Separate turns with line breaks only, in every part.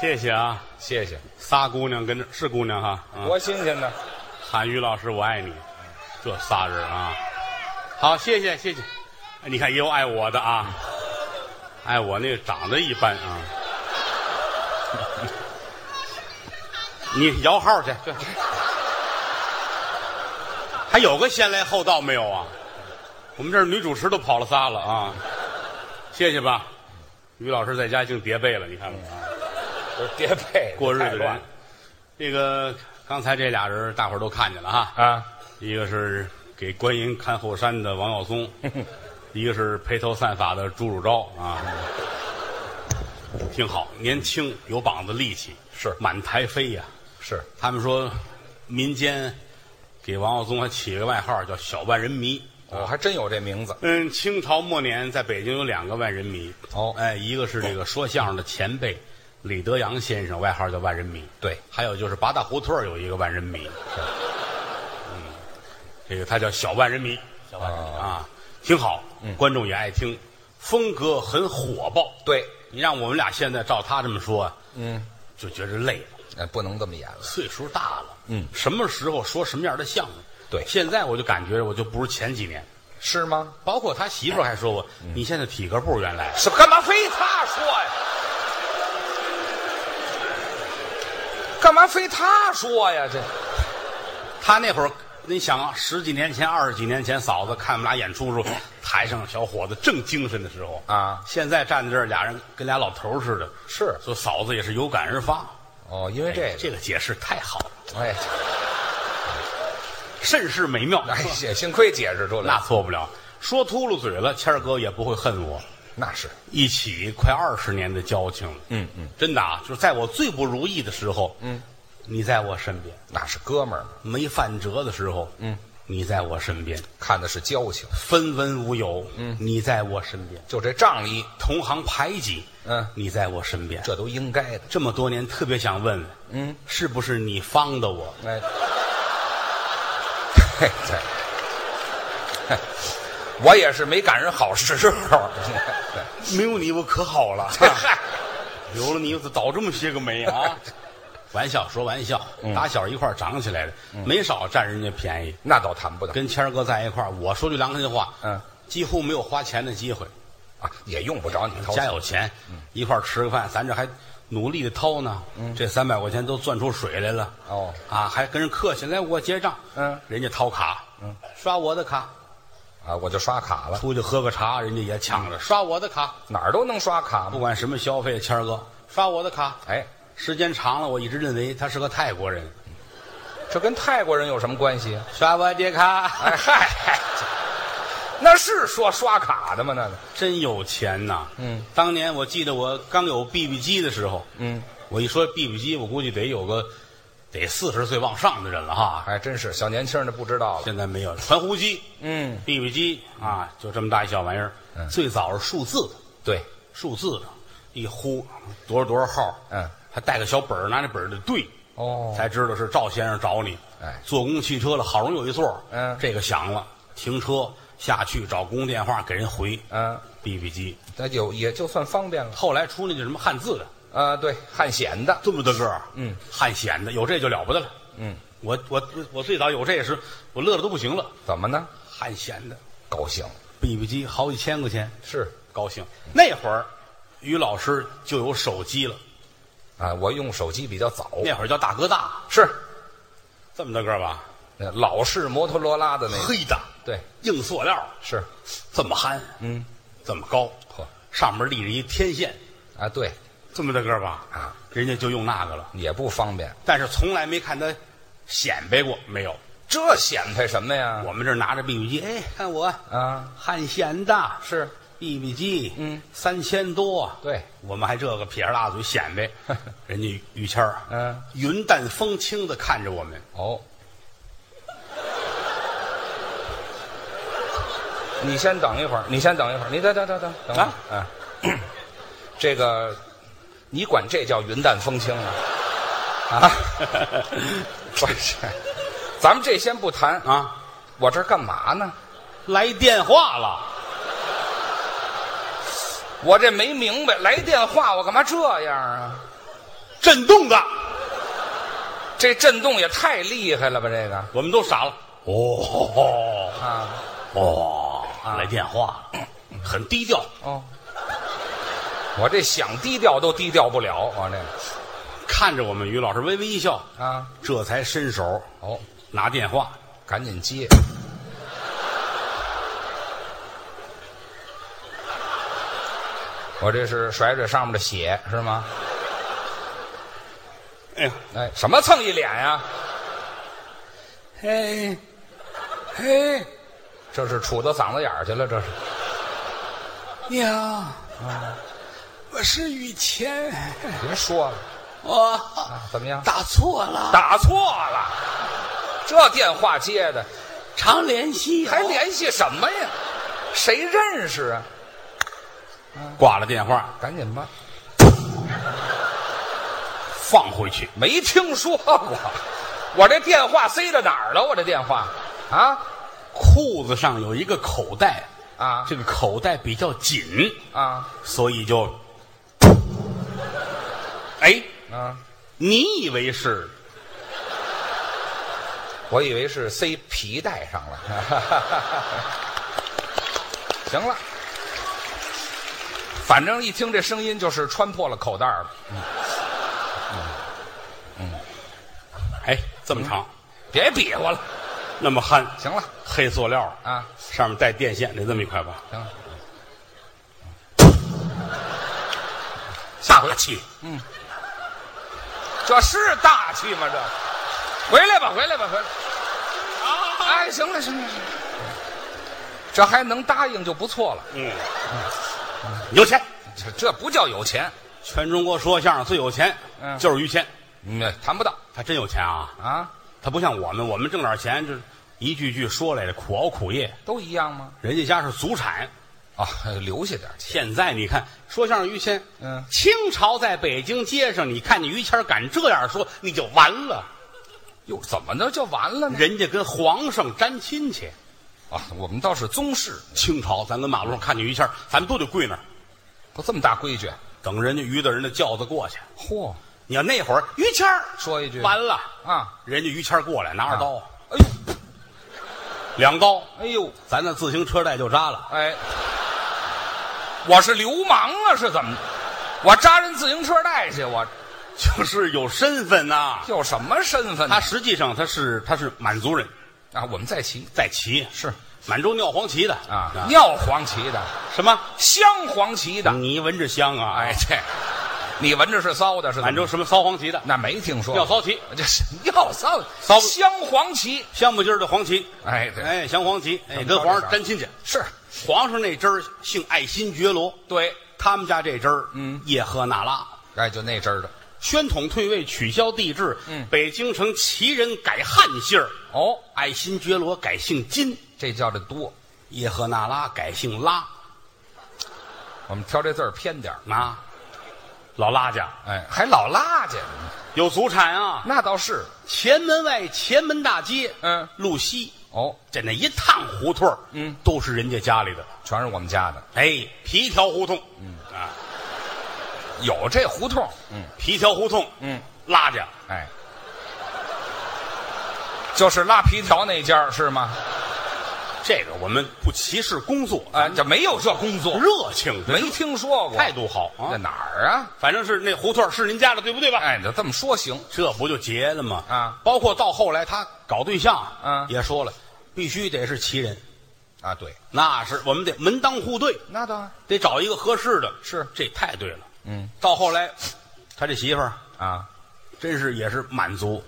谢谢啊，
谢谢，
仨姑娘跟着是姑娘哈，嗯
多新鲜呢！
喊于老师我爱你，这仨人啊，好，谢谢谢谢，哎你看也有爱我的啊，爱我那个长得一般啊， 你摇号去，对，还有个先来后到没有啊？我们这儿女主持都跑了仨了啊，谢谢吧，于老师在家净叠被了，你看看啊。
不是叠被
过日
太
子
乱
人。这个刚才这俩人，大伙儿都看见了哈。
啊！
一个是给观音看后山的王耀松， 一个是披头散发的朱汝昭啊，挺好，年轻有膀子力气，
是
满台飞呀、
是
他们说，民间给王耀宗还起个外号叫“小万人迷”。
我还真有这名字
嗯，清朝末年在北京有两个万人迷。
哦
哎，一个是这个说相声的前辈李德阳先生，外号叫万人迷。
对
还有就是八大胡同儿有一个万人迷，嗯，这个他叫小万人迷，小万人迷嗯啊，挺好，观众也爱听，风格很火爆。
对，
你让我们俩现在照他这么说，嗯，就觉着累了，
哎，不能这么演了。
岁数大了，嗯，什么时候说什么样的相声？
对
现在我就感觉我就不如前几年，
是吗？
包括他媳妇儿还说我，你现在体格不如原来。
是干嘛非他说呀？干嘛非他说呀？这
他那会儿，你想啊，十几年前、二十几年前，嫂子看我们俩演出时 候，台上小伙子正精神的时候
啊
现在站在这儿，俩人跟俩老头儿似的。
是
所以嫂子也是有感而发。哎
哦，因为这
这个解释太好了，
个，哎，
甚是美妙。
哎，也幸亏解释出来
那
了，
错不了，说秃噜嘴了，谦儿哥也不会恨我。
那是
一起快二十年的交情了，嗯嗯，真的啊，就是在我最不如意的时候，嗯，你在我身边；
那是哥们儿嘛，
没饭辙的时候，嗯，你在我身边；
看的是交情，
分文无有，嗯，你在我身边。
就这仗义，
同行排挤，
嗯
你在我身边，
这都应该的。
这么多年，特别想问问，嗯，是不是你方的我？
哎，嘿， 对，嘿我也是没赶上好时候。对
没有你，我可好了，
嗨，
有了你，我倒这么些个霉啊！ 玩笑说玩笑，打小一块儿长起来的，没少占人家便宜。
那倒谈不到
跟谦儿哥在一块儿，我说句良心话，
嗯，
几乎没有花钱的机会。
啊，也用不着你掏
家
钱。嗯
有钱，一块儿吃个饭，咱这还努力的掏呢。这三百块钱都攥出水来了。
哦，
啊，还跟人客气，来我结账。
嗯，
人家掏卡，嗯，刷我的卡，
啊，我就刷卡了，
出去喝个茶，人家也抢着刷我的卡。
哪儿都能刷卡
不
嘛。
管什么消费，谦儿哥刷我的卡。
哎，
时间长了，我一直认为他是个泰国人。
这跟泰国人有什么关系啊？
刷我的卡，
哎嗨，那是说刷卡的吗？那个
真有钱呐！嗯，当年我记得我刚有 BB 机的时候，嗯，我一说 BB 机，我估计得有个得四十岁往上的人了哈。
还哎真是小年轻的不知道了。
现在没有了传呼机，
嗯
，BB 机啊，就这么大一小玩意儿。最早是数字的，
对，
数字的，一呼多少多少号，
嗯，
还带个小本儿，拿那本儿得对，
哦
才知道是赵先生找你。
哎
坐公共汽车了，好容易有一座，
嗯
这个响了，停车下去找公共电话给人回，
嗯
，BB 机。
那有也就算方便了。
后来出那叫什么汉字的，
啊，对，汉显的
这么大个儿，嗯，汉显的有这就了不得了，嗯，我我我我最早有这时，我乐的都不行了，
怎么呢？
汉显的
高兴
BB 机好几千块钱，
是
高兴。那会儿，于老师就有手机了，
啊，我用手机比较早，
那会儿叫大哥大，
是
这么大个儿吧，
那老式摩托罗拉的那个，
黑的，
对，
硬塑料，
是
这么憨，嗯，这么高，
呵
上面立着一天线，
啊，对，
这么大个儿吧，
啊，
人家就用那个了，
也不方便。
但是从来没看他显摆过，没有。
这显摆什么呀？
我们这儿拿着 BB 机，哎，看我
啊，
汉显的
是
BB 机，嗯，三千多，
对，
我们还这个撇着大嘴显摆，人家于谦儿，
嗯，
云淡风轻的看着我们，
哦，你先等一会儿，你先等一会儿，你等等等等等会儿
啊
啊，这个你管这叫云淡风轻啊？ 啊，不是，咱们这先不谈啊，
啊，
我这儿干嘛呢？
来电话了，
我这没明白，来电话我干嘛这样啊？
震动的，
这震动也太厉害了吧？这个
我们都傻了。哦
啊，
哦，来电话了，很低调，
哦，我这想低调都低调不了，我这
看着我们于老师微微一笑，
啊，
这才伸手
哦，
拿电话。
赶紧接。我这是甩甩上面的血是吗？
哎呀，
哎，什么蹭一脸呀、
嘿，
嘿，这是杵到嗓子眼儿去了，这是
你好，我是雨谦，
别说了
我
啊！怎么样？
打错了，
打错了，这电话接的
常联系哦
还联系什么呀？谁认识啊？
挂了电话，
赶紧吧，
放回去。
没听说过，我这电话塞到哪儿了？我这电话啊
裤子上有一个口袋，
啊
这个口袋比较紧，
啊
所以就， 哎，
啊！
你以为是
我以为是塞皮带上了， 行了，反正一听这声音就是穿破了口袋了。
哎这么长，
别比划了，
那么憨，
行了
黑塑料
啊，
上面带电线，得这么一块吧？
行了，
大回气，
这是大气吗？这，回来吧，回来吧，回来。
啊
哎，行了，行了，行了，这还能答应就不错了，
嗯，有钱，
这这不叫有钱，
全中国说相声最有钱，
嗯
就是于谦，
嗯，谈不到
他真有钱啊！
啊，
他不像我们，我们挣点钱就是一句句说来的苦熬苦夜，
都一样吗？
人家家是祖产。
啊，留下点钱，
现在你看说相声于谦，
嗯，
清朝在北京街上，你看见于谦敢这样说，你就完了。
哟，怎么的就完了呢？
人家跟皇上沾亲戚。
啊，我们倒是宗室，
清朝，咱跟马路上看见于谦，咱们都得跪那儿
不这么大规矩。
等人家于大人的轿子过去。
嚯，
你要那会儿于谦儿
说一句
完了，
啊，
人家于谦儿过来拿着刀，
哎呦，
两刀，
哎呦，
咱的自行车带就扎了。
哎，我是流氓啊，是怎么的？我扎人自行车带去，我
就是有身份呐、
有什么身份呢
他？实际上他是他是满族人，
啊，我们在骑
在旗
是
满洲尿黄旗的
啊，尿黄旗的，
什么？
镶黄旗的，
你闻着香啊！
哎，，这你闻着是骚的，是怎么
满洲什么骚黄旗的，
那没听说
尿骚旗，
这是尿骚
骚
镶黄旗，
香不筋儿的黄旗，
哎对
哎，降黄旗，哎，跟皇上沾亲戚。
是
皇上那支儿姓爱新觉罗，
对，
他们家这支儿，嗯，叶赫那拉。
哎就那阵儿的
宣统退位，取消帝制，
嗯
北京城旗人改汉姓儿，
哦，
爱新觉罗改姓金，
这叫的多，
叶赫那拉改姓拉
我们挑这字儿偏点儿，
啊，老拉家
哎，还老拉去，
有祖产啊，
那倒是
前门外前门大街，
嗯
路西，
哦，
这那一趟胡同嗯，都是人家家里的，
全是我们家的，
哎，皮条胡同，嗯啊，
有这胡同，嗯
皮条胡同，
嗯，
拉家
哎，就是拉皮条那家儿是吗？
这个我们不歧视工作，
啊，这没有这工作，
热情
没听说过，
态度好啊
在，哪儿啊？
反正是那胡同是您家的，对不对吧？
哎，你就这么说行，
这不就结了吗？
啊，
包括到后来他搞对象，
嗯
也说了，必须得是旗人，
啊，对，
那是我们得门当户对，
那当然
得找一个合适的。
是
这太对了。
嗯，
到后来，他这媳妇儿
啊，
真是也是满族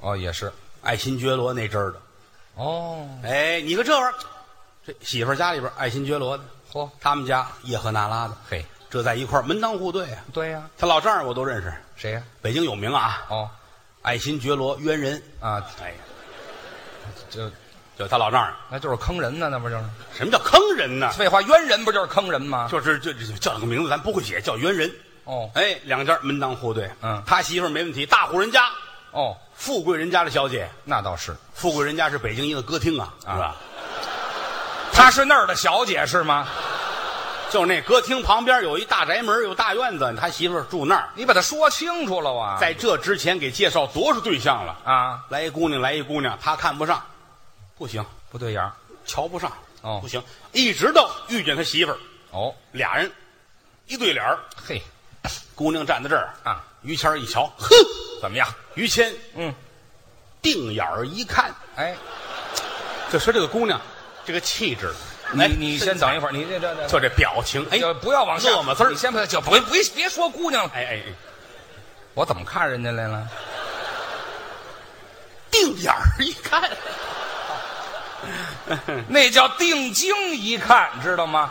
哦，也是，
爱新觉罗那阵儿的。
哦，
哎，你看这玩意儿，这媳妇儿家里边爱新觉罗的，
嚯，
他们家叶赫那拉的，
嘿，
这在一块儿门当户对啊。
对呀、
他老丈人我都认识，
谁呀、
北京有名啊，
哦，
爱新觉罗渊人。
啊，
哎呀，
就
就他老丈人，
那就是坑人呢，那不就是？
什么叫坑人呢？
废话，冤人不就是坑人吗？
就是就就叫两个名字，咱不会写，叫猿人。
哦
哎，两家门当户对。
嗯
他媳妇儿没问题，大户人家，
哦，
富贵人家的小姐，
那倒是，
富贵人家是北
啊
京一个歌厅啊，是吧？
她是那儿的小姐是吗？
就是那歌厅旁边有一大宅门，有大院子，他媳妇儿住那儿。
你把它说清楚了啊！
在这之前给介绍多少对象了？
啊，
来一姑娘，来一姑娘，他看不上，不行，
不对眼儿
瞧不上，
哦
不行。一直到遇见他媳妇儿，
哦，
俩人一对脸儿，
嘿
姑娘站在这儿，
啊，
于谦儿一瞧，哼，
怎么样？
于谦
嗯，
定眼儿一看，
哎，
就说这个姑娘这个气质，
你
哎
你先等一会儿，你这这这
就这表情，哎，
就不要往下
乐么滋儿
你先不要就不别别说姑娘了，
哎哎哎，
我怎么看人家来了？
定眼儿一看，
那叫定睛一看，知道吗？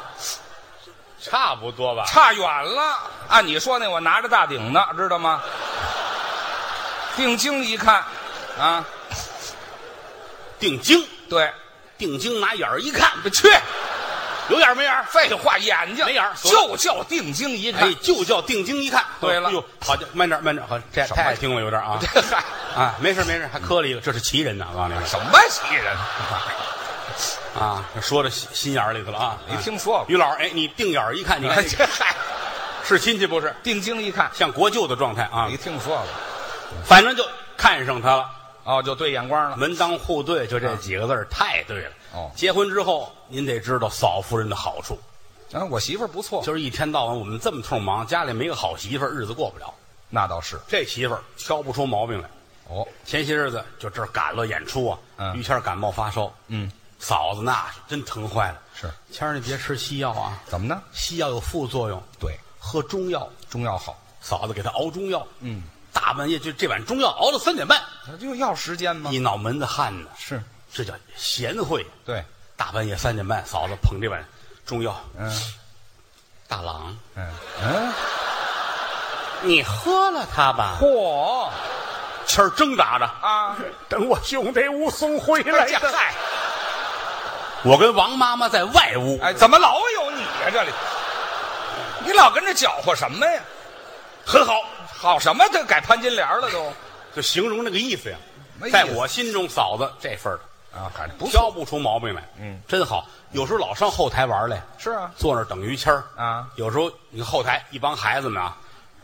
差不多吧？
差远了。按你说那我拿着大顶呢，知道吗？定睛一看，啊，
定睛，
对，
定睛，拿眼儿一看，
去，
有眼儿没眼儿？
废话，眼睛
没眼儿
就叫定睛一看
哎。，就叫定睛一看。
对了
哎呦，好家伙，慢点，慢点，好，这
什么
太听了有点啊
这嗨，
啊，没事没事，还磕了一个，这是奇人呐，我告诉你们
什么奇人？
啊，说到心心眼儿里头了啊。
没听说过。
于老师，哎，你定眼儿一看，你
哎，
看
这嗨，
是亲戚不是？
定睛一看，
像国舅的状态啊
没，听说过。
反正就看上他了，
哦，就对眼光了。
门当户对，就这几个字儿太对了。
哦
结婚之后，您得知道嫂夫人的好处，
啊，我媳妇儿不错，
就是一天到晚我们这么通忙，家里没个好媳妇儿，日子过不了。
那倒是。
这媳妇儿挑不出毛病来。
哦，
前些日子就这儿赶了演出啊，
嗯
于谦儿感冒发烧，
嗯，
嫂子那是真疼坏了。
是
谦儿，你别吃西药啊，
怎么呢？
西药有副作用，
对，
喝中药。
中药好，
嫂子给他熬中药，
嗯，
大半夜就这碗中药熬到三点半，
那就要时间吗
一？脑门子汗呢，
是，
这叫贤惠。
对，
大半夜三点半，嫂子捧这碗中药，
嗯
大郎，
嗯嗯，
你喝了它吧。
嚯
谦儿挣扎着，
啊！
等我兄弟武松回
哎
来
呀
的。
嗨，
我跟王妈妈在外屋，
哎，怎么老有你呀、这里，你老跟着搅和什么呀？
很好，
好什么？这改潘金莲了都
就形容那个意思呀
没意。思
在我心中，嫂子这份儿的。
啊，还不
挑不出毛病来，嗯，真好。有时候老上后台玩来，
是啊，
坐那儿等于谦儿
啊。
有时候你看后台一帮孩子们啊，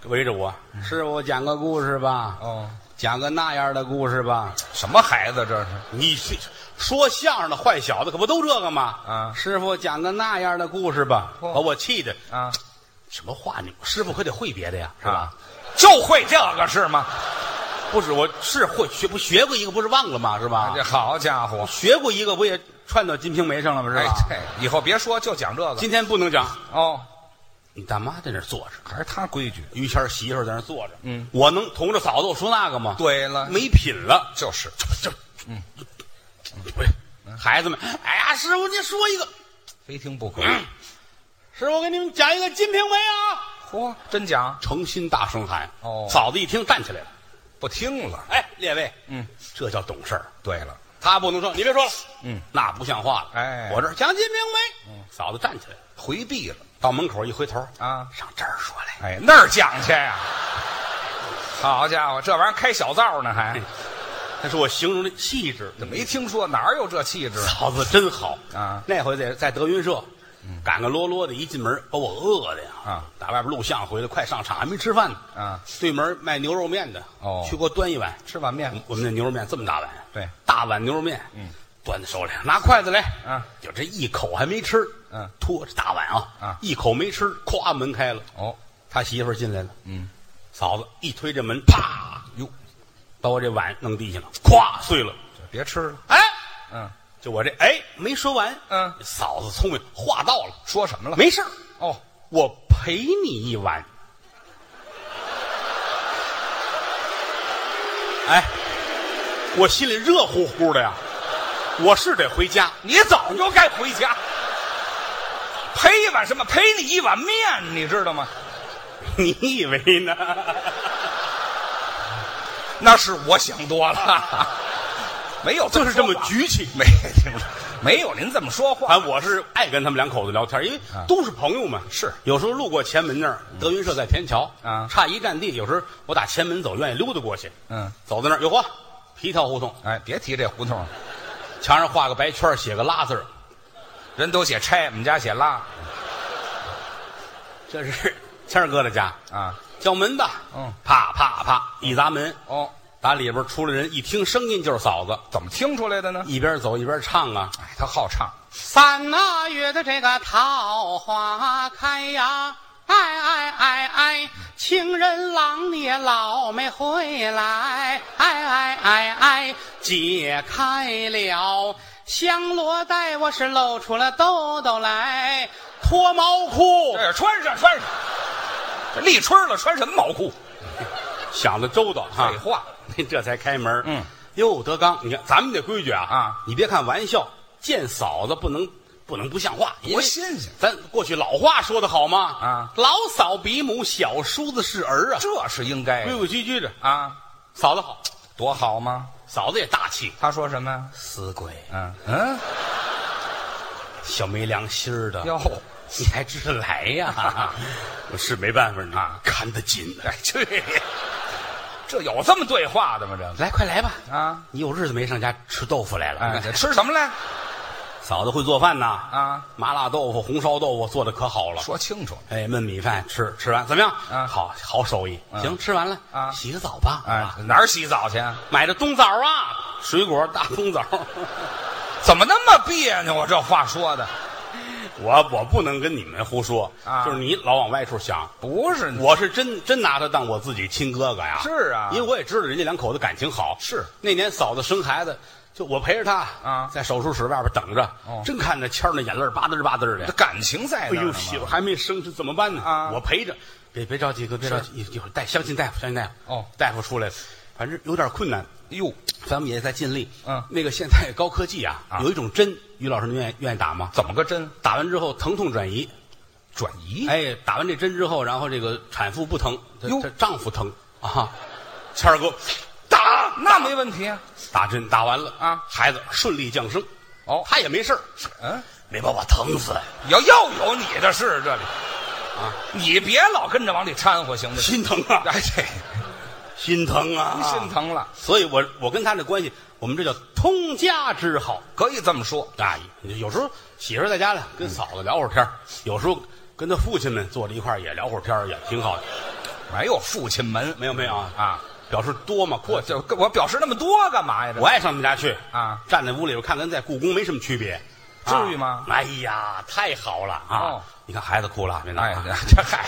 围着我，师傅讲个故事吧，
嗯哦，
讲个那样的故事吧。
什么孩子这是？
你是说相声的坏小子可不都这个吗？
啊
师傅讲个那样的故事吧，
嚯
把我气的
啊，
什么话你师傅可得会别的呀，是吧
啊？就会这个是吗？
不是，我是会学不学过一个，不是忘了吗？是吧
啊哎这？好家伙！
学过一个，不也串到《金瓶梅》上了吗？是
哎
吧，？
这以后别说，就讲这个
今天不能讲，
哦。
你大妈在那儿坐着。
还是他规矩。
于谦儿媳妇儿在那儿坐着，嗯，我能同着嫂子我说那个吗？，
对啊了，
没品了，
就是
这，嗯，孩子们，哎呀，师傅您说一 个，嗯
非听不可。
师傅我给你们讲一个《金瓶梅》啊，
嚯，真讲
诚心大声喊，
哦
嫂子一听站起来了，
不听了。
哎，列位，
嗯，
这叫懂事儿，
对了，
他不能说你别说了，
嗯，
那不像话了，
哎嗯
我这儿讲《金瓶梅》，嫂子站起来了，
回避了
到门口一回头，
啊。
上这儿说来，
哎，那儿讲去呀、好家伙，这玩意儿开小灶呢还，
他说我形容的气质，怎
没听说哪儿有这气质？
嫂子真好
啊！嗯
那回在在德云社，赶个啰啰的，一进门把我饿的呀
啊！
打外边录像回来，快上场还没吃饭呢
啊！
对门卖牛肉面的
哦
去给我端一碗。
吃碗面
哎我们那牛肉面这么大碗，啊
对，
大碗牛肉面，嗯，端在手里，拿筷子来，
啊，
就这一口还没吃，
嗯，
托着大碗啊，
啊
一口没吃，咵门开了，
哦，
他媳妇儿进来了，
嗯，
嫂子一推这门，啪，
哟，
把我这碗弄地下了，咵碎了，
这别吃了。
哎。
嗯，
就我这哎没说完，
嗯
嫂子聪明，话到了，
说什么了？
没事儿
哦，
我陪你一晚。哎，我心里热乎乎的呀，我是得回家，
你早就该回家。赔一碗什么？赔你一碗面，你知道吗？
你以为呢？
那是我想多了，没有
就是这么
说话
局气。
没听说，没有您这么说话。
反正我是爱跟他们两口子聊天，因为
啊
都是嗯朋友嘛。
是
有时候路过前门那儿，德云社在天桥
啊
差一站地。有时候我打前门走，愿意溜达过去。
嗯，
走到那儿，有嚯，皮条胡同，
哎，别提这胡同了，
墙上画个白圈儿，写个拉字儿，
人都写拆，我们家写拉。
这是 谦儿哥的家，
啊，
叫门吧，
嗯，
啪啪啪一砸门，
哦，
打里边出来人，一听声音就是嫂子，
怎么听出来的呢？
一边走一边唱啊，
哎，他好唱，
三那月的这个桃花开呀，哎哎哎哎，情人郎你也老没回来，哎哎哎哎，解开了香罗带，我是露出了兜兜来，脱毛裤，
哎，穿上穿上，这立春了，穿什么毛裤？
想的周到哈
废话，
这才开门。
嗯，
哟，德刚，你看咱们这规矩啊
啊，
你别看玩笑，见嫂子不能不能不像话，因
多
为
新鲜！
咱过去老话说的好吗？
啊，
老嫂比母，小叔子是儿啊，
这是应该
规规矩矩的。
啊，
嫂子好，
多好吗？
嫂子也大气。
他说什么呀？
死鬼，啊
嗯嗯，
小没良心儿的，
哟，
你还知道来呀？ 我是没办法
啊，
看得紧。
哎，去，这有这么对话的吗？这
来，快来吧！
啊，
你有日子没上家吃豆腐来了。
哎，这吃什么来？
嫂子会做饭呐，
啊，
麻辣豆腐、红烧豆腐做的可好了。
说清楚。
哎，焖米饭吃吃完怎么样？
啊
好好手艺。行，吃完了
啊
洗个澡吧。
哎
啊，，
哪儿洗澡去啊？
买的冬枣啊，水果大冬枣。
怎么那么别扭啊？这话说的
我我不能跟你们胡说，
啊
就是你老往外处想，
不是
我是真真拿他当我自己亲哥哥呀。
是啊
因为我也知道人家两口子感情好。
是
那年嫂子生孩子，就我陪着她
啊
在手术室外边等着，
哦
真看着谦儿那眼泪儿吧嘚儿吧嘚儿
这
的。
感情在
哎
那儿
呦，
呢
媳妇
嘛。
还没生，这怎么办呢？
啊
我陪着，别别着急，哥，别着急，一一会儿带相信大夫，相信大夫。
哦
大夫出来了，反正有点困难，
哟，
咱们也在尽力。
嗯
那个现在高科技啊，
啊
有一种针，于老师您愿意愿意打吗？
怎么个针？
打完之后疼痛转移，
转移？
哎，打完这针之后，然后这个产妇不疼，她
哟
她丈夫疼啊。谦儿哥，打
那没问题啊。
打针打完了
啊
孩子顺利降生，
哦，
他也没事儿，
嗯，
没把我疼死。
要又有你的事这里啊，你别老跟着往里掺和行不
心
行？
疼啊，
哎，这
心疼啊，
心。疼了，
所以我我跟他这关系，我们这叫通家之好
可以这么说。
啊。有时候媳妇儿在家呢，跟嫂子聊会儿天儿有时候跟他父亲们坐在一块儿也聊会儿天儿也挺好的。
没有父亲门
没有没有啊，
啊，
表示多嘛阔
我
气。
就我表示那么多干嘛啊呀？这
我爱上他们家去
啊，
站在屋里边看，跟在故宫没什么区别，
至于
啊
吗
哎呀，太好了啊！
哦
你看孩子哭了，别闹
哎
啊，
这 嗨，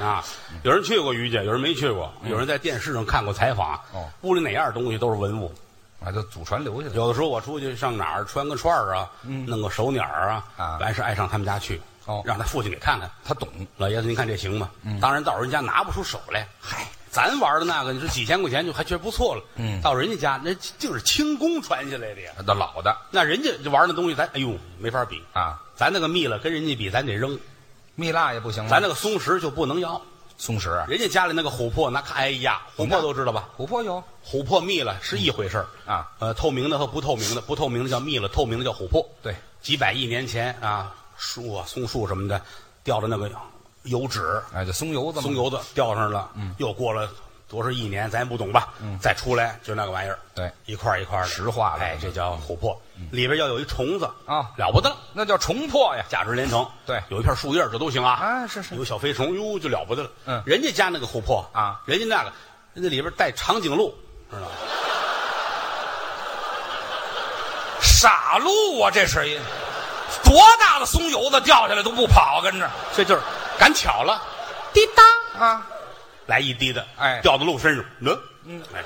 啊！有人去过于家，有人没去过，有人在电视上看过采访。啊
嗯哦
屋里哪样东西都是文物。
啊，就祖传留下的。
有的时候我出去上哪儿穿个串儿啊，弄个手鸟儿啊
嗯啊，
完事爱上他们家去
哦，嗯
让他父亲给看看。
他懂，
老爷子，您看这行吗？当然到人家拿不出手来。嗨，咱玩的那个，你说几千块钱就还觉得不错了。
嗯
到人家家那就是清宫传下来的呀。
他的老的
那人家这玩那东西，咱哎呦没法比，
啊，
咱那个蜜了跟人家比，咱得扔；
嗯蜜蜡也不行吗？
咱那个松石就不能要。
松石啊，
人家家里那个琥珀，那看哎呀，琥
你看
珀都知道吧？
琥珀有
琥珀蜜了是一回事儿
啊，
呃，透明的和不透明的，不透明的叫蜜了，透明的叫琥珀。
对，
几百亿年前啊，树啊松树什么的掉的那个油脂，
哎，就松油子嘛。
松油子掉上了，嗯，又过了多少亿年，咱也不懂吧？嗯，再出来就那个玩意儿，
对，
一块儿一块儿的
石化了
哎，这叫琥珀，里边要有一虫子
啊
了不得了。
那叫重破呀。
价值连城。
对
有一片树叶儿这都行啊。
啊是是
有小飞虫，哟，就了不得了。
嗯
人家家那个琥珀
啊
人家那个，人家里边带长颈鹿，知道吗？
傻路啊，这是一多大的松油子掉下来都不跑，跟着
这就是赶巧了，滴答
啊，
来一滴的，
哎
掉到鹿身上，嗯嗯，哎，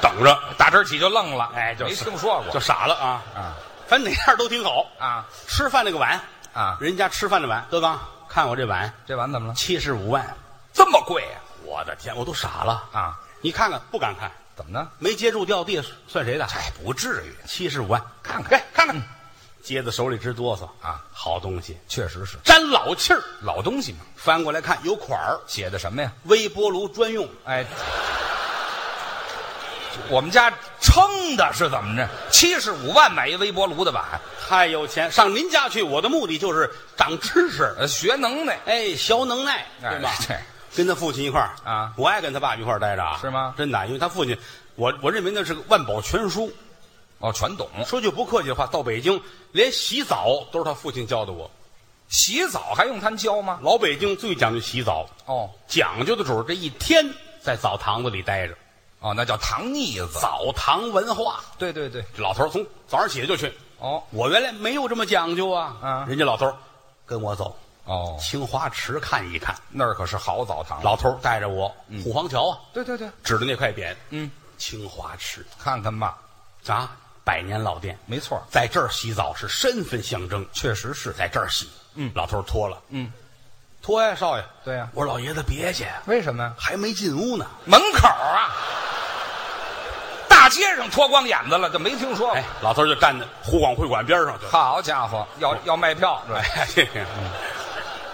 等着，
打这儿起就愣了，
哎，就
没听说过
就傻了啊。
啊
反正哪样都挺好。
啊，
吃饭那个碗
啊
人家吃饭的碗，德刚看我这碗
这碗怎么了？
七十五万，
这么贵啊呀、
我的天，我都傻了
啊？！
你看看不敢看，
怎么呢？
没接住掉地算谁的？
哎，不至于，
七十五万，
看看嗯
哎，看看，接在手里直哆嗦
啊！
好东西，
确实是
沾老气儿。
老东西嘛，
翻过来看，有款儿，
写的什么呀？
微波炉专用，
哎，我们家撑的是怎么着？七十五万买一微波炉的碗，
太有钱。上您家去，我的目的就是长知识，
呃，学能耐
哎，学能耐，
哎
对吧？
对
跟他父亲一块儿
啊
我爱跟他爸一块儿待着啊，
是吗
真的，因为他父亲，我我认为那是个万宝全书。
哦，全懂。
说句不客气的话，到北京连洗澡都是他父亲教的我。
洗澡还用它教吗？
老北京最讲究洗澡，
哦
讲究的主儿这一天在澡堂子里待着，
哦，那叫糖腻子。
澡堂文化。
对对对，
这老头儿从早上起来就去，
哦
我原来没有这么讲究啊。
嗯
人家老头儿跟我走，
哦，
青花池看一看。
那儿可是好澡堂。
老头儿带着我，虎坊桥啊，
对对对，
指着那块匾，
嗯，
青花池
看看吧，
啊，百年老店，
没错，
在这儿洗澡是身份象征，
确实是。
在这儿洗。
嗯
老头儿脱了，
嗯，
脱呀，少爷。
对呀
我说老爷子别去，
为什么呀？
还没进屋呢。
门口啊，大街上脱光眼子了，就没听说过。
哎，老头儿就站在湖广会馆边上 就，
好家伙，要要卖票，对，
哎，这个
嗯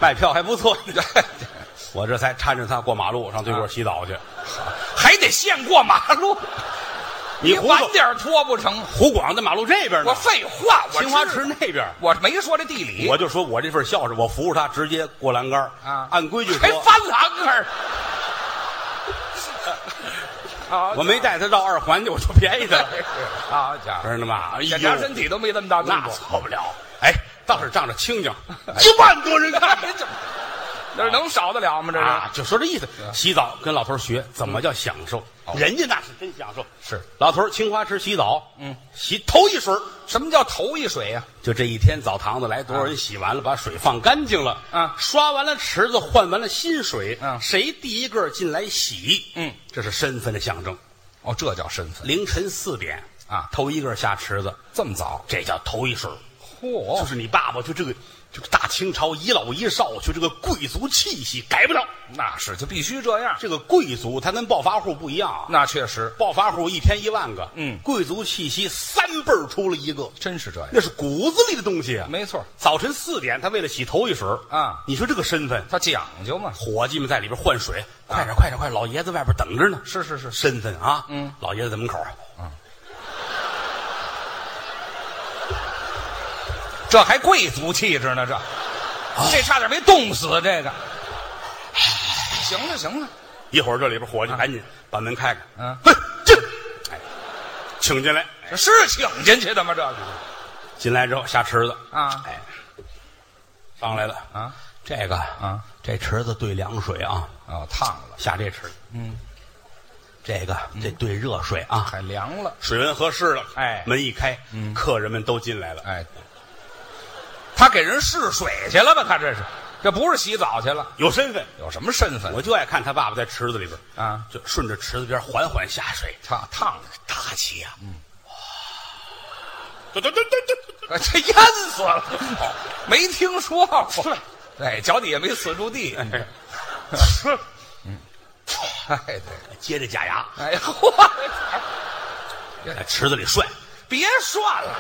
卖票还不 错。我这才搀着他过马路，上对过洗澡
啊
去。
还得现过马路，
你胡
晚
总
点脱不成？
湖广在马路这边呢
我，废话，我
青花
知
池那边。
我没说这地理，
我就说我这份孝顺，我服务他直接过栏杆儿
啊
按规矩
还
说，
翻栏杆 儿。好
我没带他绕二环去，我就便宜他 了，
好家伙，
知道吗？哎呦
检查身体都没这么大动
那
作，
错不了。哎，倒是仗着清静，
哎
一万多 人 看
哎这这能少得了吗？这
啊
是，
就说这意思。洗澡跟老头儿学怎么叫享受，人家那嗯哦是真享受。
是
老头儿青花池洗澡，嗯，洗头一水儿
什么叫头一水呀？
就这一天澡堂子来多少人洗完了，把水放干净了，
啊
刷完了池子，换完了新水，
嗯
谁第一个进来洗，
嗯，
这是身份的象征。
哦，这叫身份，
凌晨四点
啊
头一个下池子，
这么早？
这叫头一水儿。
嚯
就是你爸爸就这个，就大清朝一老一少，就这个贵族气息改不了。
那是就必须这样，
这个贵族他跟暴发户不一样啊，
那确实
暴发户一天一万个，
嗯
贵族气息三辈儿出了一个，
真是这样，
那是骨子里的东西啊。
没错，
早晨四点，他为了洗头一水儿
啊
你说这个身份，
他讲究嘛。
伙计们在里边换水，快点快点快，老爷子外边等着呢。
是是是，
身份啊，
嗯，
老爷子在门口，
这还贵族气质呢，这、
啊
这差点没冻死。这个，行了行了，
一会儿这里边伙计赶紧把门开开，
啊嗯
嘿，进，哎，请进来。
这是请进去的吗？这个
进来之后下池子
啊
哎，上来了
啊，
这个
啊，
这池子兑凉水啊，
哦，烫了，
下这池子，嗯，这个
嗯
这兑热水啊，
还凉了，
水温合适了，
哎
门一开，客人们都进来了，
哎，他给人试水去了吧？他这是，这不是洗澡去了，
有身份，
有什么身份？
我就爱看他爸爸在池子里边
啊，
就顺着池子边缓缓下水，
烫烫了，
大气呀，嗯，哇，嘟嘟嘟嘟嘟，
哎这淹死了，哦没听说过。哎，脚底下没死住地。哎，对，
接着假牙
哎呀，嚯，
在池子里涮，
别涮了。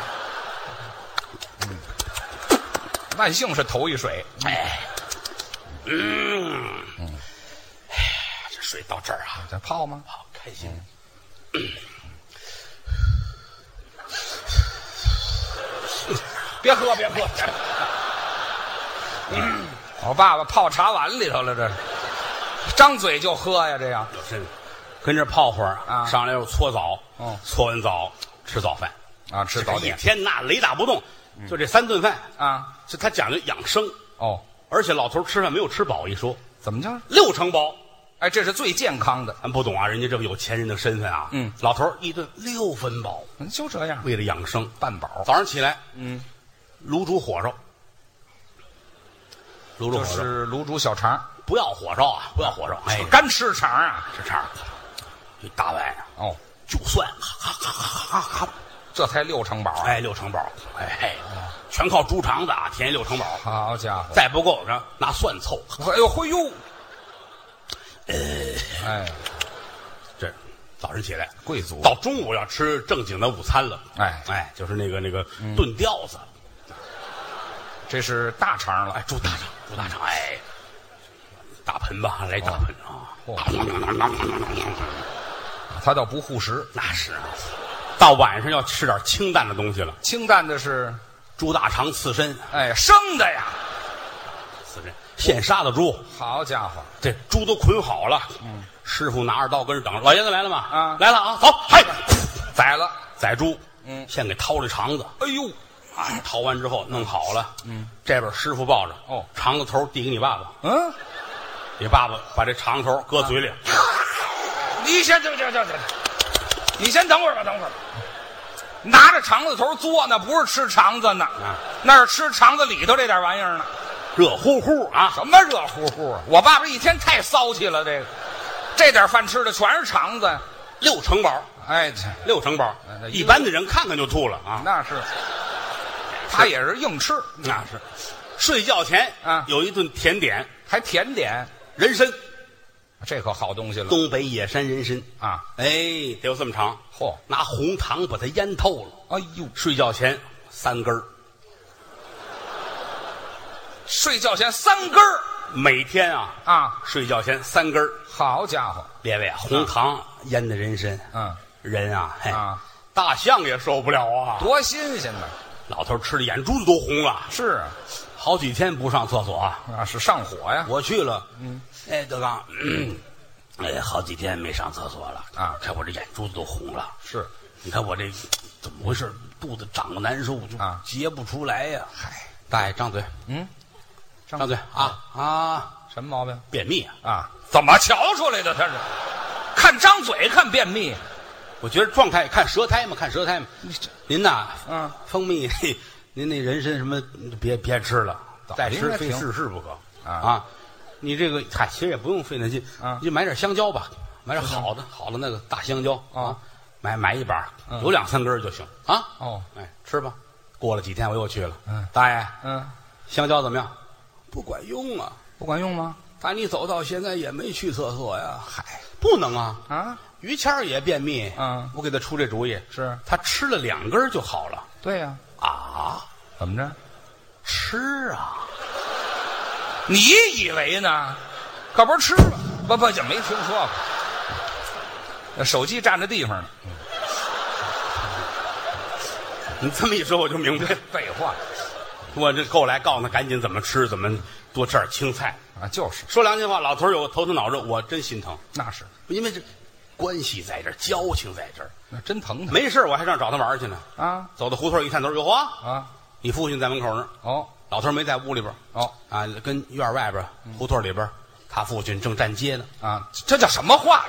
万幸是头一水，
哎，嗯，哎呀，这水到这儿啊，
这泡吗？
好开心。
别喝，别喝。我爸爸泡茶碗里头了，这是张嘴就喝呀，这样
有身份，跟这儿泡会儿
啊
上来又搓澡，
哦
搓完澡吃早饭，
啊，吃
这
早
一
点嗯
天那雷打不动，就这三顿饭，
啊。
就他讲究养生，
哦，
而且老头儿吃饭没有吃饱一说，
怎么着？
六成饱，
哎，这是最健康的，
咱不懂啊，人家这个有钱人的身份啊，
嗯，
老头儿一顿六分饱，
嗯就这样，
为了养生，
半饱。
早上起来
嗯，
卤煮火烧，卤煮
就
火烧，
是卤煮小肠，
不要火烧啊，不要火烧，哎，
干吃肠啊。
这肠儿，一大碗啊
哦，
就蒜，哈哈哈哈哈哈。
这才六成饱。啊
哎，六成饱，哎嘿，全靠猪肠子啊，填六成饱，
好家伙！
再不够呢，拿蒜凑，
哎呦，嘿呦，哎，
这早晨起来。
贵族
到中午要吃正经的午餐了，
哎
嗯哎，就是那个那个炖吊子，
这是大肠了
哎，。猪大肠，猪大肠，哎，大盆吧，来大盆啊，
哦他倒不护食，
那是啊。到晚上要吃点清淡的东西了，
清淡的是
猪大肠刺身，
哎生的呀。
刺身现杀的猪，
好家伙，
这猪都捆好了，嗯，师傅拿着刀跟着等，老爷子来了吗？
啊
来了啊，走，嗨，
宰了。
宰猪，
嗯
先给掏这肠子，
哎呦，
啊，淘完之后弄好了，嗯，这边师傅抱着，
哦
肠子头递给你爸爸，
嗯，
你爸爸把这肠头搁嘴里，
你先等等等等，你先等会儿吧，等会儿吧。拿着肠子头嘬呢，不是吃肠子呢，
啊
那是吃肠子里头这点玩意儿呢。
热乎乎啊，
什么热乎乎啊！我爸爸一天太骚气了，这个，这点饭吃的全是肠子。
六成饱，
哎，这
六成饱
嗯那，
一般的人看看就吐了啊。
那是，他也是硬吃，
那是，睡觉前
啊
有一顿甜点，
还甜点，
人参，
这可好东西了
东北野山人参，
啊！
哎，得有这么长，
嚯，
拿红糖把它腌透了，
哎呦，
睡觉前三根儿，
睡觉前三根儿
每天啊，
啊，
睡觉前三根儿。
好家伙，
列位啊，红糖腌的人参，
嗯，
人啊，嘿
啊，
大象也受不了啊，
多新鲜呢！
老头吃的眼珠子都红了，
是啊，
好几天不上厕所啊。
啊是上火呀，
我去了，嗯，哎，德刚， 咳哎，好几天没上厕所了
啊
看我这眼珠子都红了，
是，
你看我这怎么回事？肚子胀得难受，就
啊
结不出来呀、
嗨，
大爷，张嘴，
嗯，张
张嘴啊啊！
什么毛病
便秘啊！
啊？怎么瞧出来的？他是看张嘴看便秘，
我觉得状态看舌苔嘛，看舌苔嘛。您呐，
嗯，
蜂蜜，嘿您那人参什么，别别吃了，
早
再
应
吃
该
非
停
试试不可
啊
你这个嗨，其实也不用费那劲，
啊
你就买点香蕉吧，买点好的好的那个大香蕉
啊，嗯
买买一把，有两三根儿就行啊。
哦，
哎，吃吧。过了几天我又去了，
嗯，
大爷，
嗯，
香蕉怎么样？不管用啊！
不管用吗？
打你走到现在也没去厕所呀。嗨，不能啊！
啊，
于谦儿也便秘，
嗯
我给他出这主意，
是
他吃了两根儿就好了
对呀、
啊，
怎么着？
吃啊，
你以为呢？可不是吃吧？不不，就没听说过。那手机占着地方呢。
你这么一说我就明白了，
废话
我这后来告诉他赶紧怎么吃，怎么多吃点青菜。
啊，就是，
说良心话，老头儿有头疼脑热，我真心疼，
那是，
因为这关系在这儿，交情在这儿，
那真疼他
没事儿我还上找他玩儿去呢。
啊
走到胡同儿一探头，哟呵，
啊！
你父亲在门口呢，
哦
老头儿没在屋里边儿
哦嗯
啊，跟院儿外边儿胡同里边儿，他父亲正站街呢。
啊，这叫什么话？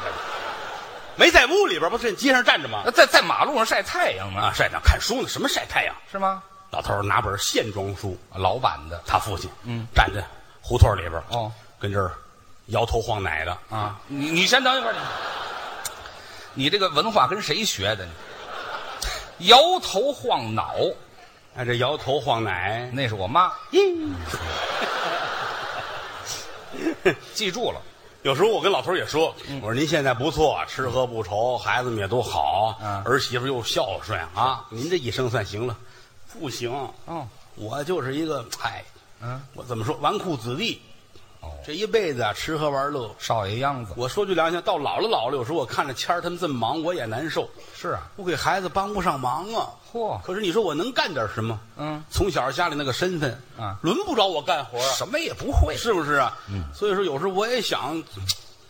没在屋里边儿，不是街上站着吗
这？在在马路上晒太阳呢，
啊，晒太阳看书呢，什么晒太阳？
是吗？
老头儿拿本线装书，
老板的
他父亲嗯站在胡同里边儿
哦，
跟这儿摇头晃脑的。
啊，你你先等一会儿，你你这个文化跟谁学的？你摇头晃脑，
哎，这摇头晃脑，
那是我妈，
咦
记住了。
有时候我跟老头儿也说，
嗯
我说您现在不错，吃喝不愁，孩子们也都好，
嗯
儿媳妇又孝顺啊，您这一生算行了。不行，
哦，
我就是一个哎，
嗯，
我怎么说纨绔子弟，
哦
这一辈子啊吃喝玩乐，
少爷样子
我说句良心，到老了老了，有时候我看着谦儿他们这么忙，我也难受。
是啊，
我给孩子帮不上忙啊。
嚯
可是你说我能干点什么？
嗯，
从小家里那个身份，
啊
轮不着我干活啊，
什么也不会，
是不是啊？嗯，所以说有时候我也想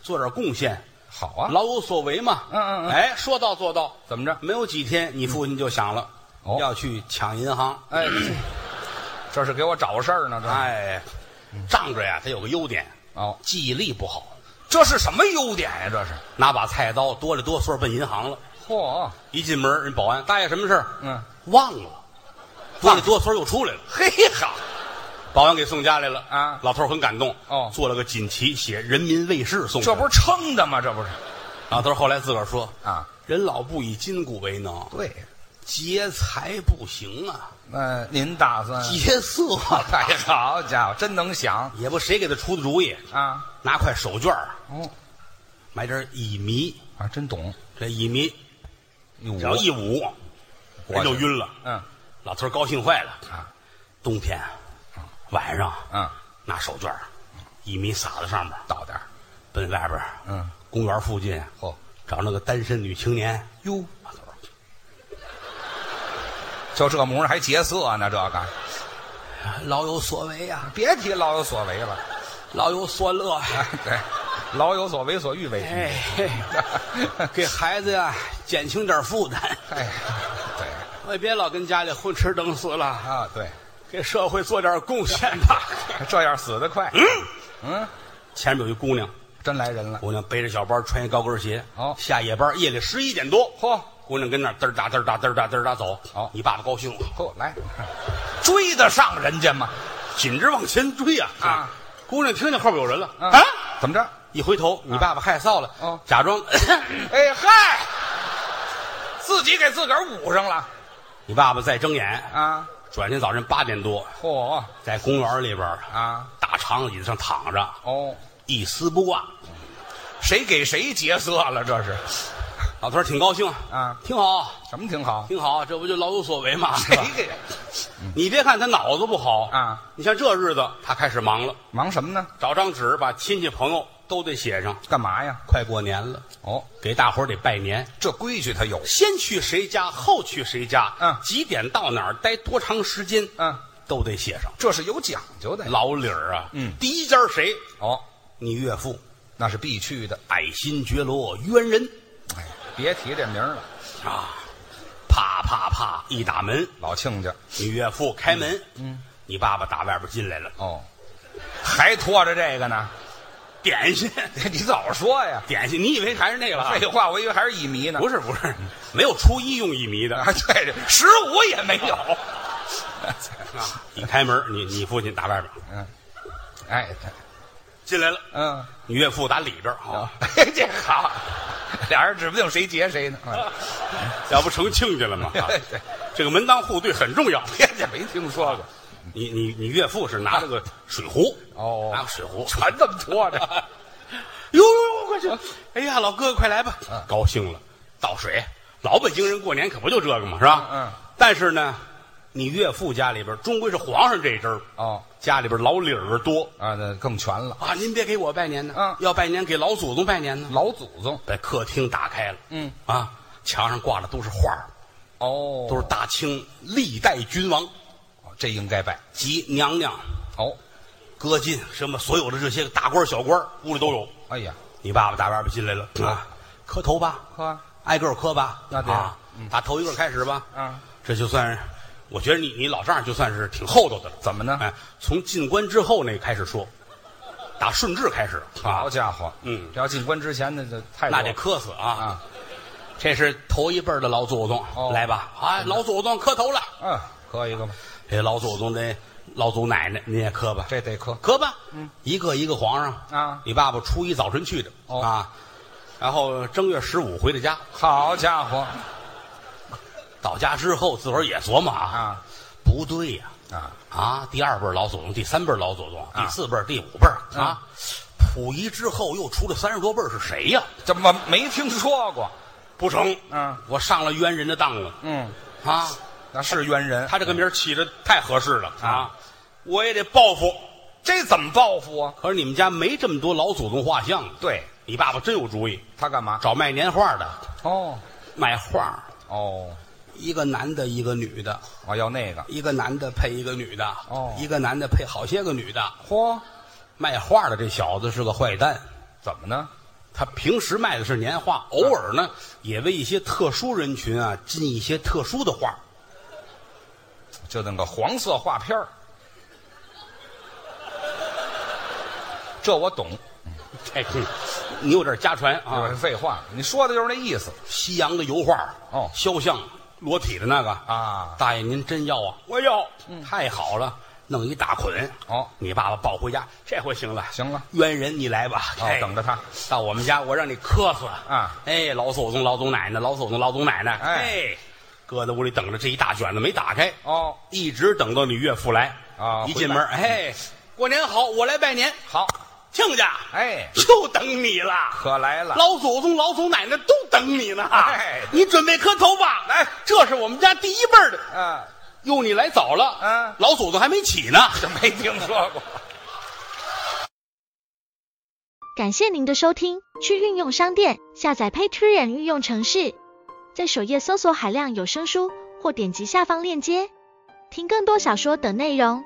做点贡献，
好啊。
老有所为嘛。
嗯嗯嗯
哎，说到做到，
怎么着？
没有几天，你父亲就想了，
哦
要去抢银行。
哎，这是给我找事儿呢，这
哎，仗着呀，他有个优点，
哦，
记忆力不好，
这是什么优点呀？这是，
拿把菜刀哆里哆嗦奔银行了。
嚯，
一进门，人保安大爷什么事儿？
嗯，
忘了，哆里哆嗦又出来了。
嘿哈，
保安给送家来了
啊
老头儿很感动
哦
做了个锦旗，写“人民卫士”送
这
去。
不是撑的吗？这不是
老头儿后来自个儿说
啊？
人老不以筋骨为能，
对，
劫财不行啊，
那您打算？
劫色啊
嗯哎，好家伙，真能想
也不谁给他出的主意，
啊！
拿块手绢儿
哦，
买点乙醚，
啊，真懂。
这乙醚只要
我
一捂，人就晕了。
嗯
老头儿高兴坏了，
啊
冬天晚上
嗯，
拿手绢儿乙醚撒在上面，
倒点儿
奔外边儿
嗯
公园附近
嚯
找那个单身女青年。
哟，就这模样还劫色呢？这个
啊老有所为呀、
别提老有所为了，
老有所乐。
哎对， 老有所为所欲为之。
哎，
哎
嘿给孩子呀、减轻点负担。
哎，对，
哎，别老跟家里混吃等死了，
啊，对，
给社会做点贡献吧。
这样死得快。嗯，
前面有一姑娘，
真来人了。
姑娘背着小包，穿一高跟鞋，
哦
下夜班，夜里十一点多，
嚯
姑娘跟那儿嘚儿哒嘚儿哒嘚儿哒嘚儿哒走。
哦
你爸爸高兴了，
嚯，来，追得上人家吗？
紧着往前追呀
啊
姑娘听见后边有人了
嗯
啊，
怎么着？
一回头，你爸爸害臊了，
哦
假装，
哎嗨，自己给自个儿捂上了
你爸爸再睁眼，
啊！
转天早晨八点多，
嚯
在公园里边儿
啊
大长椅子上躺着，
哦，
一丝不挂。
谁给谁劫色了？这是
老头儿挺高兴
啊，
挺好，
什么挺好？
挺好，这不就老有所为吗？
谁
是吧
给
你别看他脑子不好
啊，
你像这日子，他开始忙了，
忙什么呢？
找张纸把亲戚朋友都得写上。
干嘛呀？
快过年了，
哦，
给大伙儿得拜年，
这规矩他有。
先去谁家，后去谁家，
嗯
几点到哪儿，待多长时间，
嗯，
都得写上。
这是有讲究的。
老理儿啊，
嗯
第一家谁？
哦，
你岳父，
那是必去的。
爱新觉罗冤人
哎，别提这名儿了，
啊！啪啪啪，一打门，
老亲家。
你岳父开门，嗯，你爸爸打外边进来了，
哦，还拖着这个呢？
点心，
你早说呀！
点心，你以为还是那个了？
废话，我以为还是乙醚呢。
啊不是不是，没有初一用一米的。
啊， 对对，十五也没有。
你开门，你你父亲打外边
嗯，哎，
进来了，
嗯，哎
你岳父打里边 啊，
这好，俩人指不定谁劫谁呢。 嗯
要不成亲家了 吗？啊
对
这个门当户对很 重要。
别介，没听说过，
你你你岳父是拿了个水壶，
哦
拿个水壶，
全这么拖着。
哟哟，快去！哎呀，老哥哥，快来吧！嗯高兴了，倒水。老北京人过年可不就这个嘛，是吧？
嗯嗯
但是呢，你岳父家里边终归是皇上这一支儿，
哦，
家里边老理儿多
啊，那更全了。
啊。您别给我拜年呢，
嗯
要拜年给老祖宗拜年呢。
老祖宗
把客厅打开了，
嗯
啊，墙上挂的都是画儿
哦
都是大清历代君王
这应该拜。
及娘娘、
哦，
歌进什么所有的这些大官小官，屋里都有。
哎呀，
你爸爸打外边进来了啊，磕头吧，
呵，
挨个儿磕吧，
啊那嗯得
啊，打头一个开始吧，
嗯，
这就算是，我觉得你你老丈人就算是挺厚道的了。
怎么呢
哎，从进关之后那开始说，打顺治开始啊
好，家伙，
嗯
这要进关之前那就太多
那
了
得磕死啊。
啊，
这是头一辈儿的老祖宗，
哦
来吧，啊，老祖宗磕头了。
嗯，磕一个吧，
这老祖宗这老祖奶奶，您也磕吧，
这得磕。
磕吧，嗯，一个一个皇上
啊
你爸爸初一早晨去的、
哦
啊，然后正月十五回的家，
好家伙
到家之后自个儿也琢磨啊，
啊
不对呀、
啊，
啊，第二辈儿老祖宗，第三辈儿老祖宗，第四辈儿、第五辈儿
嗯
啊，溥仪之后又出了三十多辈儿是谁呀、
怎么没听说过？
不成，
嗯，
我上了冤人的当了
嗯，
啊！
那是冤人，
他这个名儿起的太合适了啊
啊，
我也得报复。
这怎么报复啊？
可是你们家没这么多老祖宗画像，
对
你爸爸真有主意，
他干嘛？
找卖年画的，
哦
卖画，
哦，
一个男的，一个女的，
我要那个。
一个男的配一个女的，
哦
一个男的配好些个女的。
嚯，
卖画的这小子是个坏蛋，
怎么呢？
他平时卖的是年画，偶尔呢也为一些特殊人群啊进一些特殊的画。
就那个黄色画片儿，这我懂。
哎，嗯你有点家传啊，
废话，你说的就是那意思
西洋的油画
哦
肖像裸体的那个啊
啊。嗯
大爷，您真要啊？我要，太好了，弄一大捆。
哦
你爸爸抱回家，这回行了，
行了，
冤人你来吧，
哦
哎
等着他
到我们家，我让你磕死
啊！
哎，老祖宗、老祖奶奶、老祖宗、老祖奶奶，
哎
哎，搁在屋里等着，这一大卷子没打开，
哦，
一直等到你岳父来
啊
一进
回来
门，哎，过年好，我来拜年，
好，
亲家，
哎
就等你了，
可来了。
老祖宗、老祖奶奶都等你呢，
哎
你准备磕头吧？
来
这是我们家第一辈儿的。
啊，
哟，你来早了，
嗯
老祖宗还没起呢。
这没听说过。
感谢您的收听，去应用商店下载 Patreon 应用城市，在首页搜索海量有声书，或点击下方链接听更多小说等内容。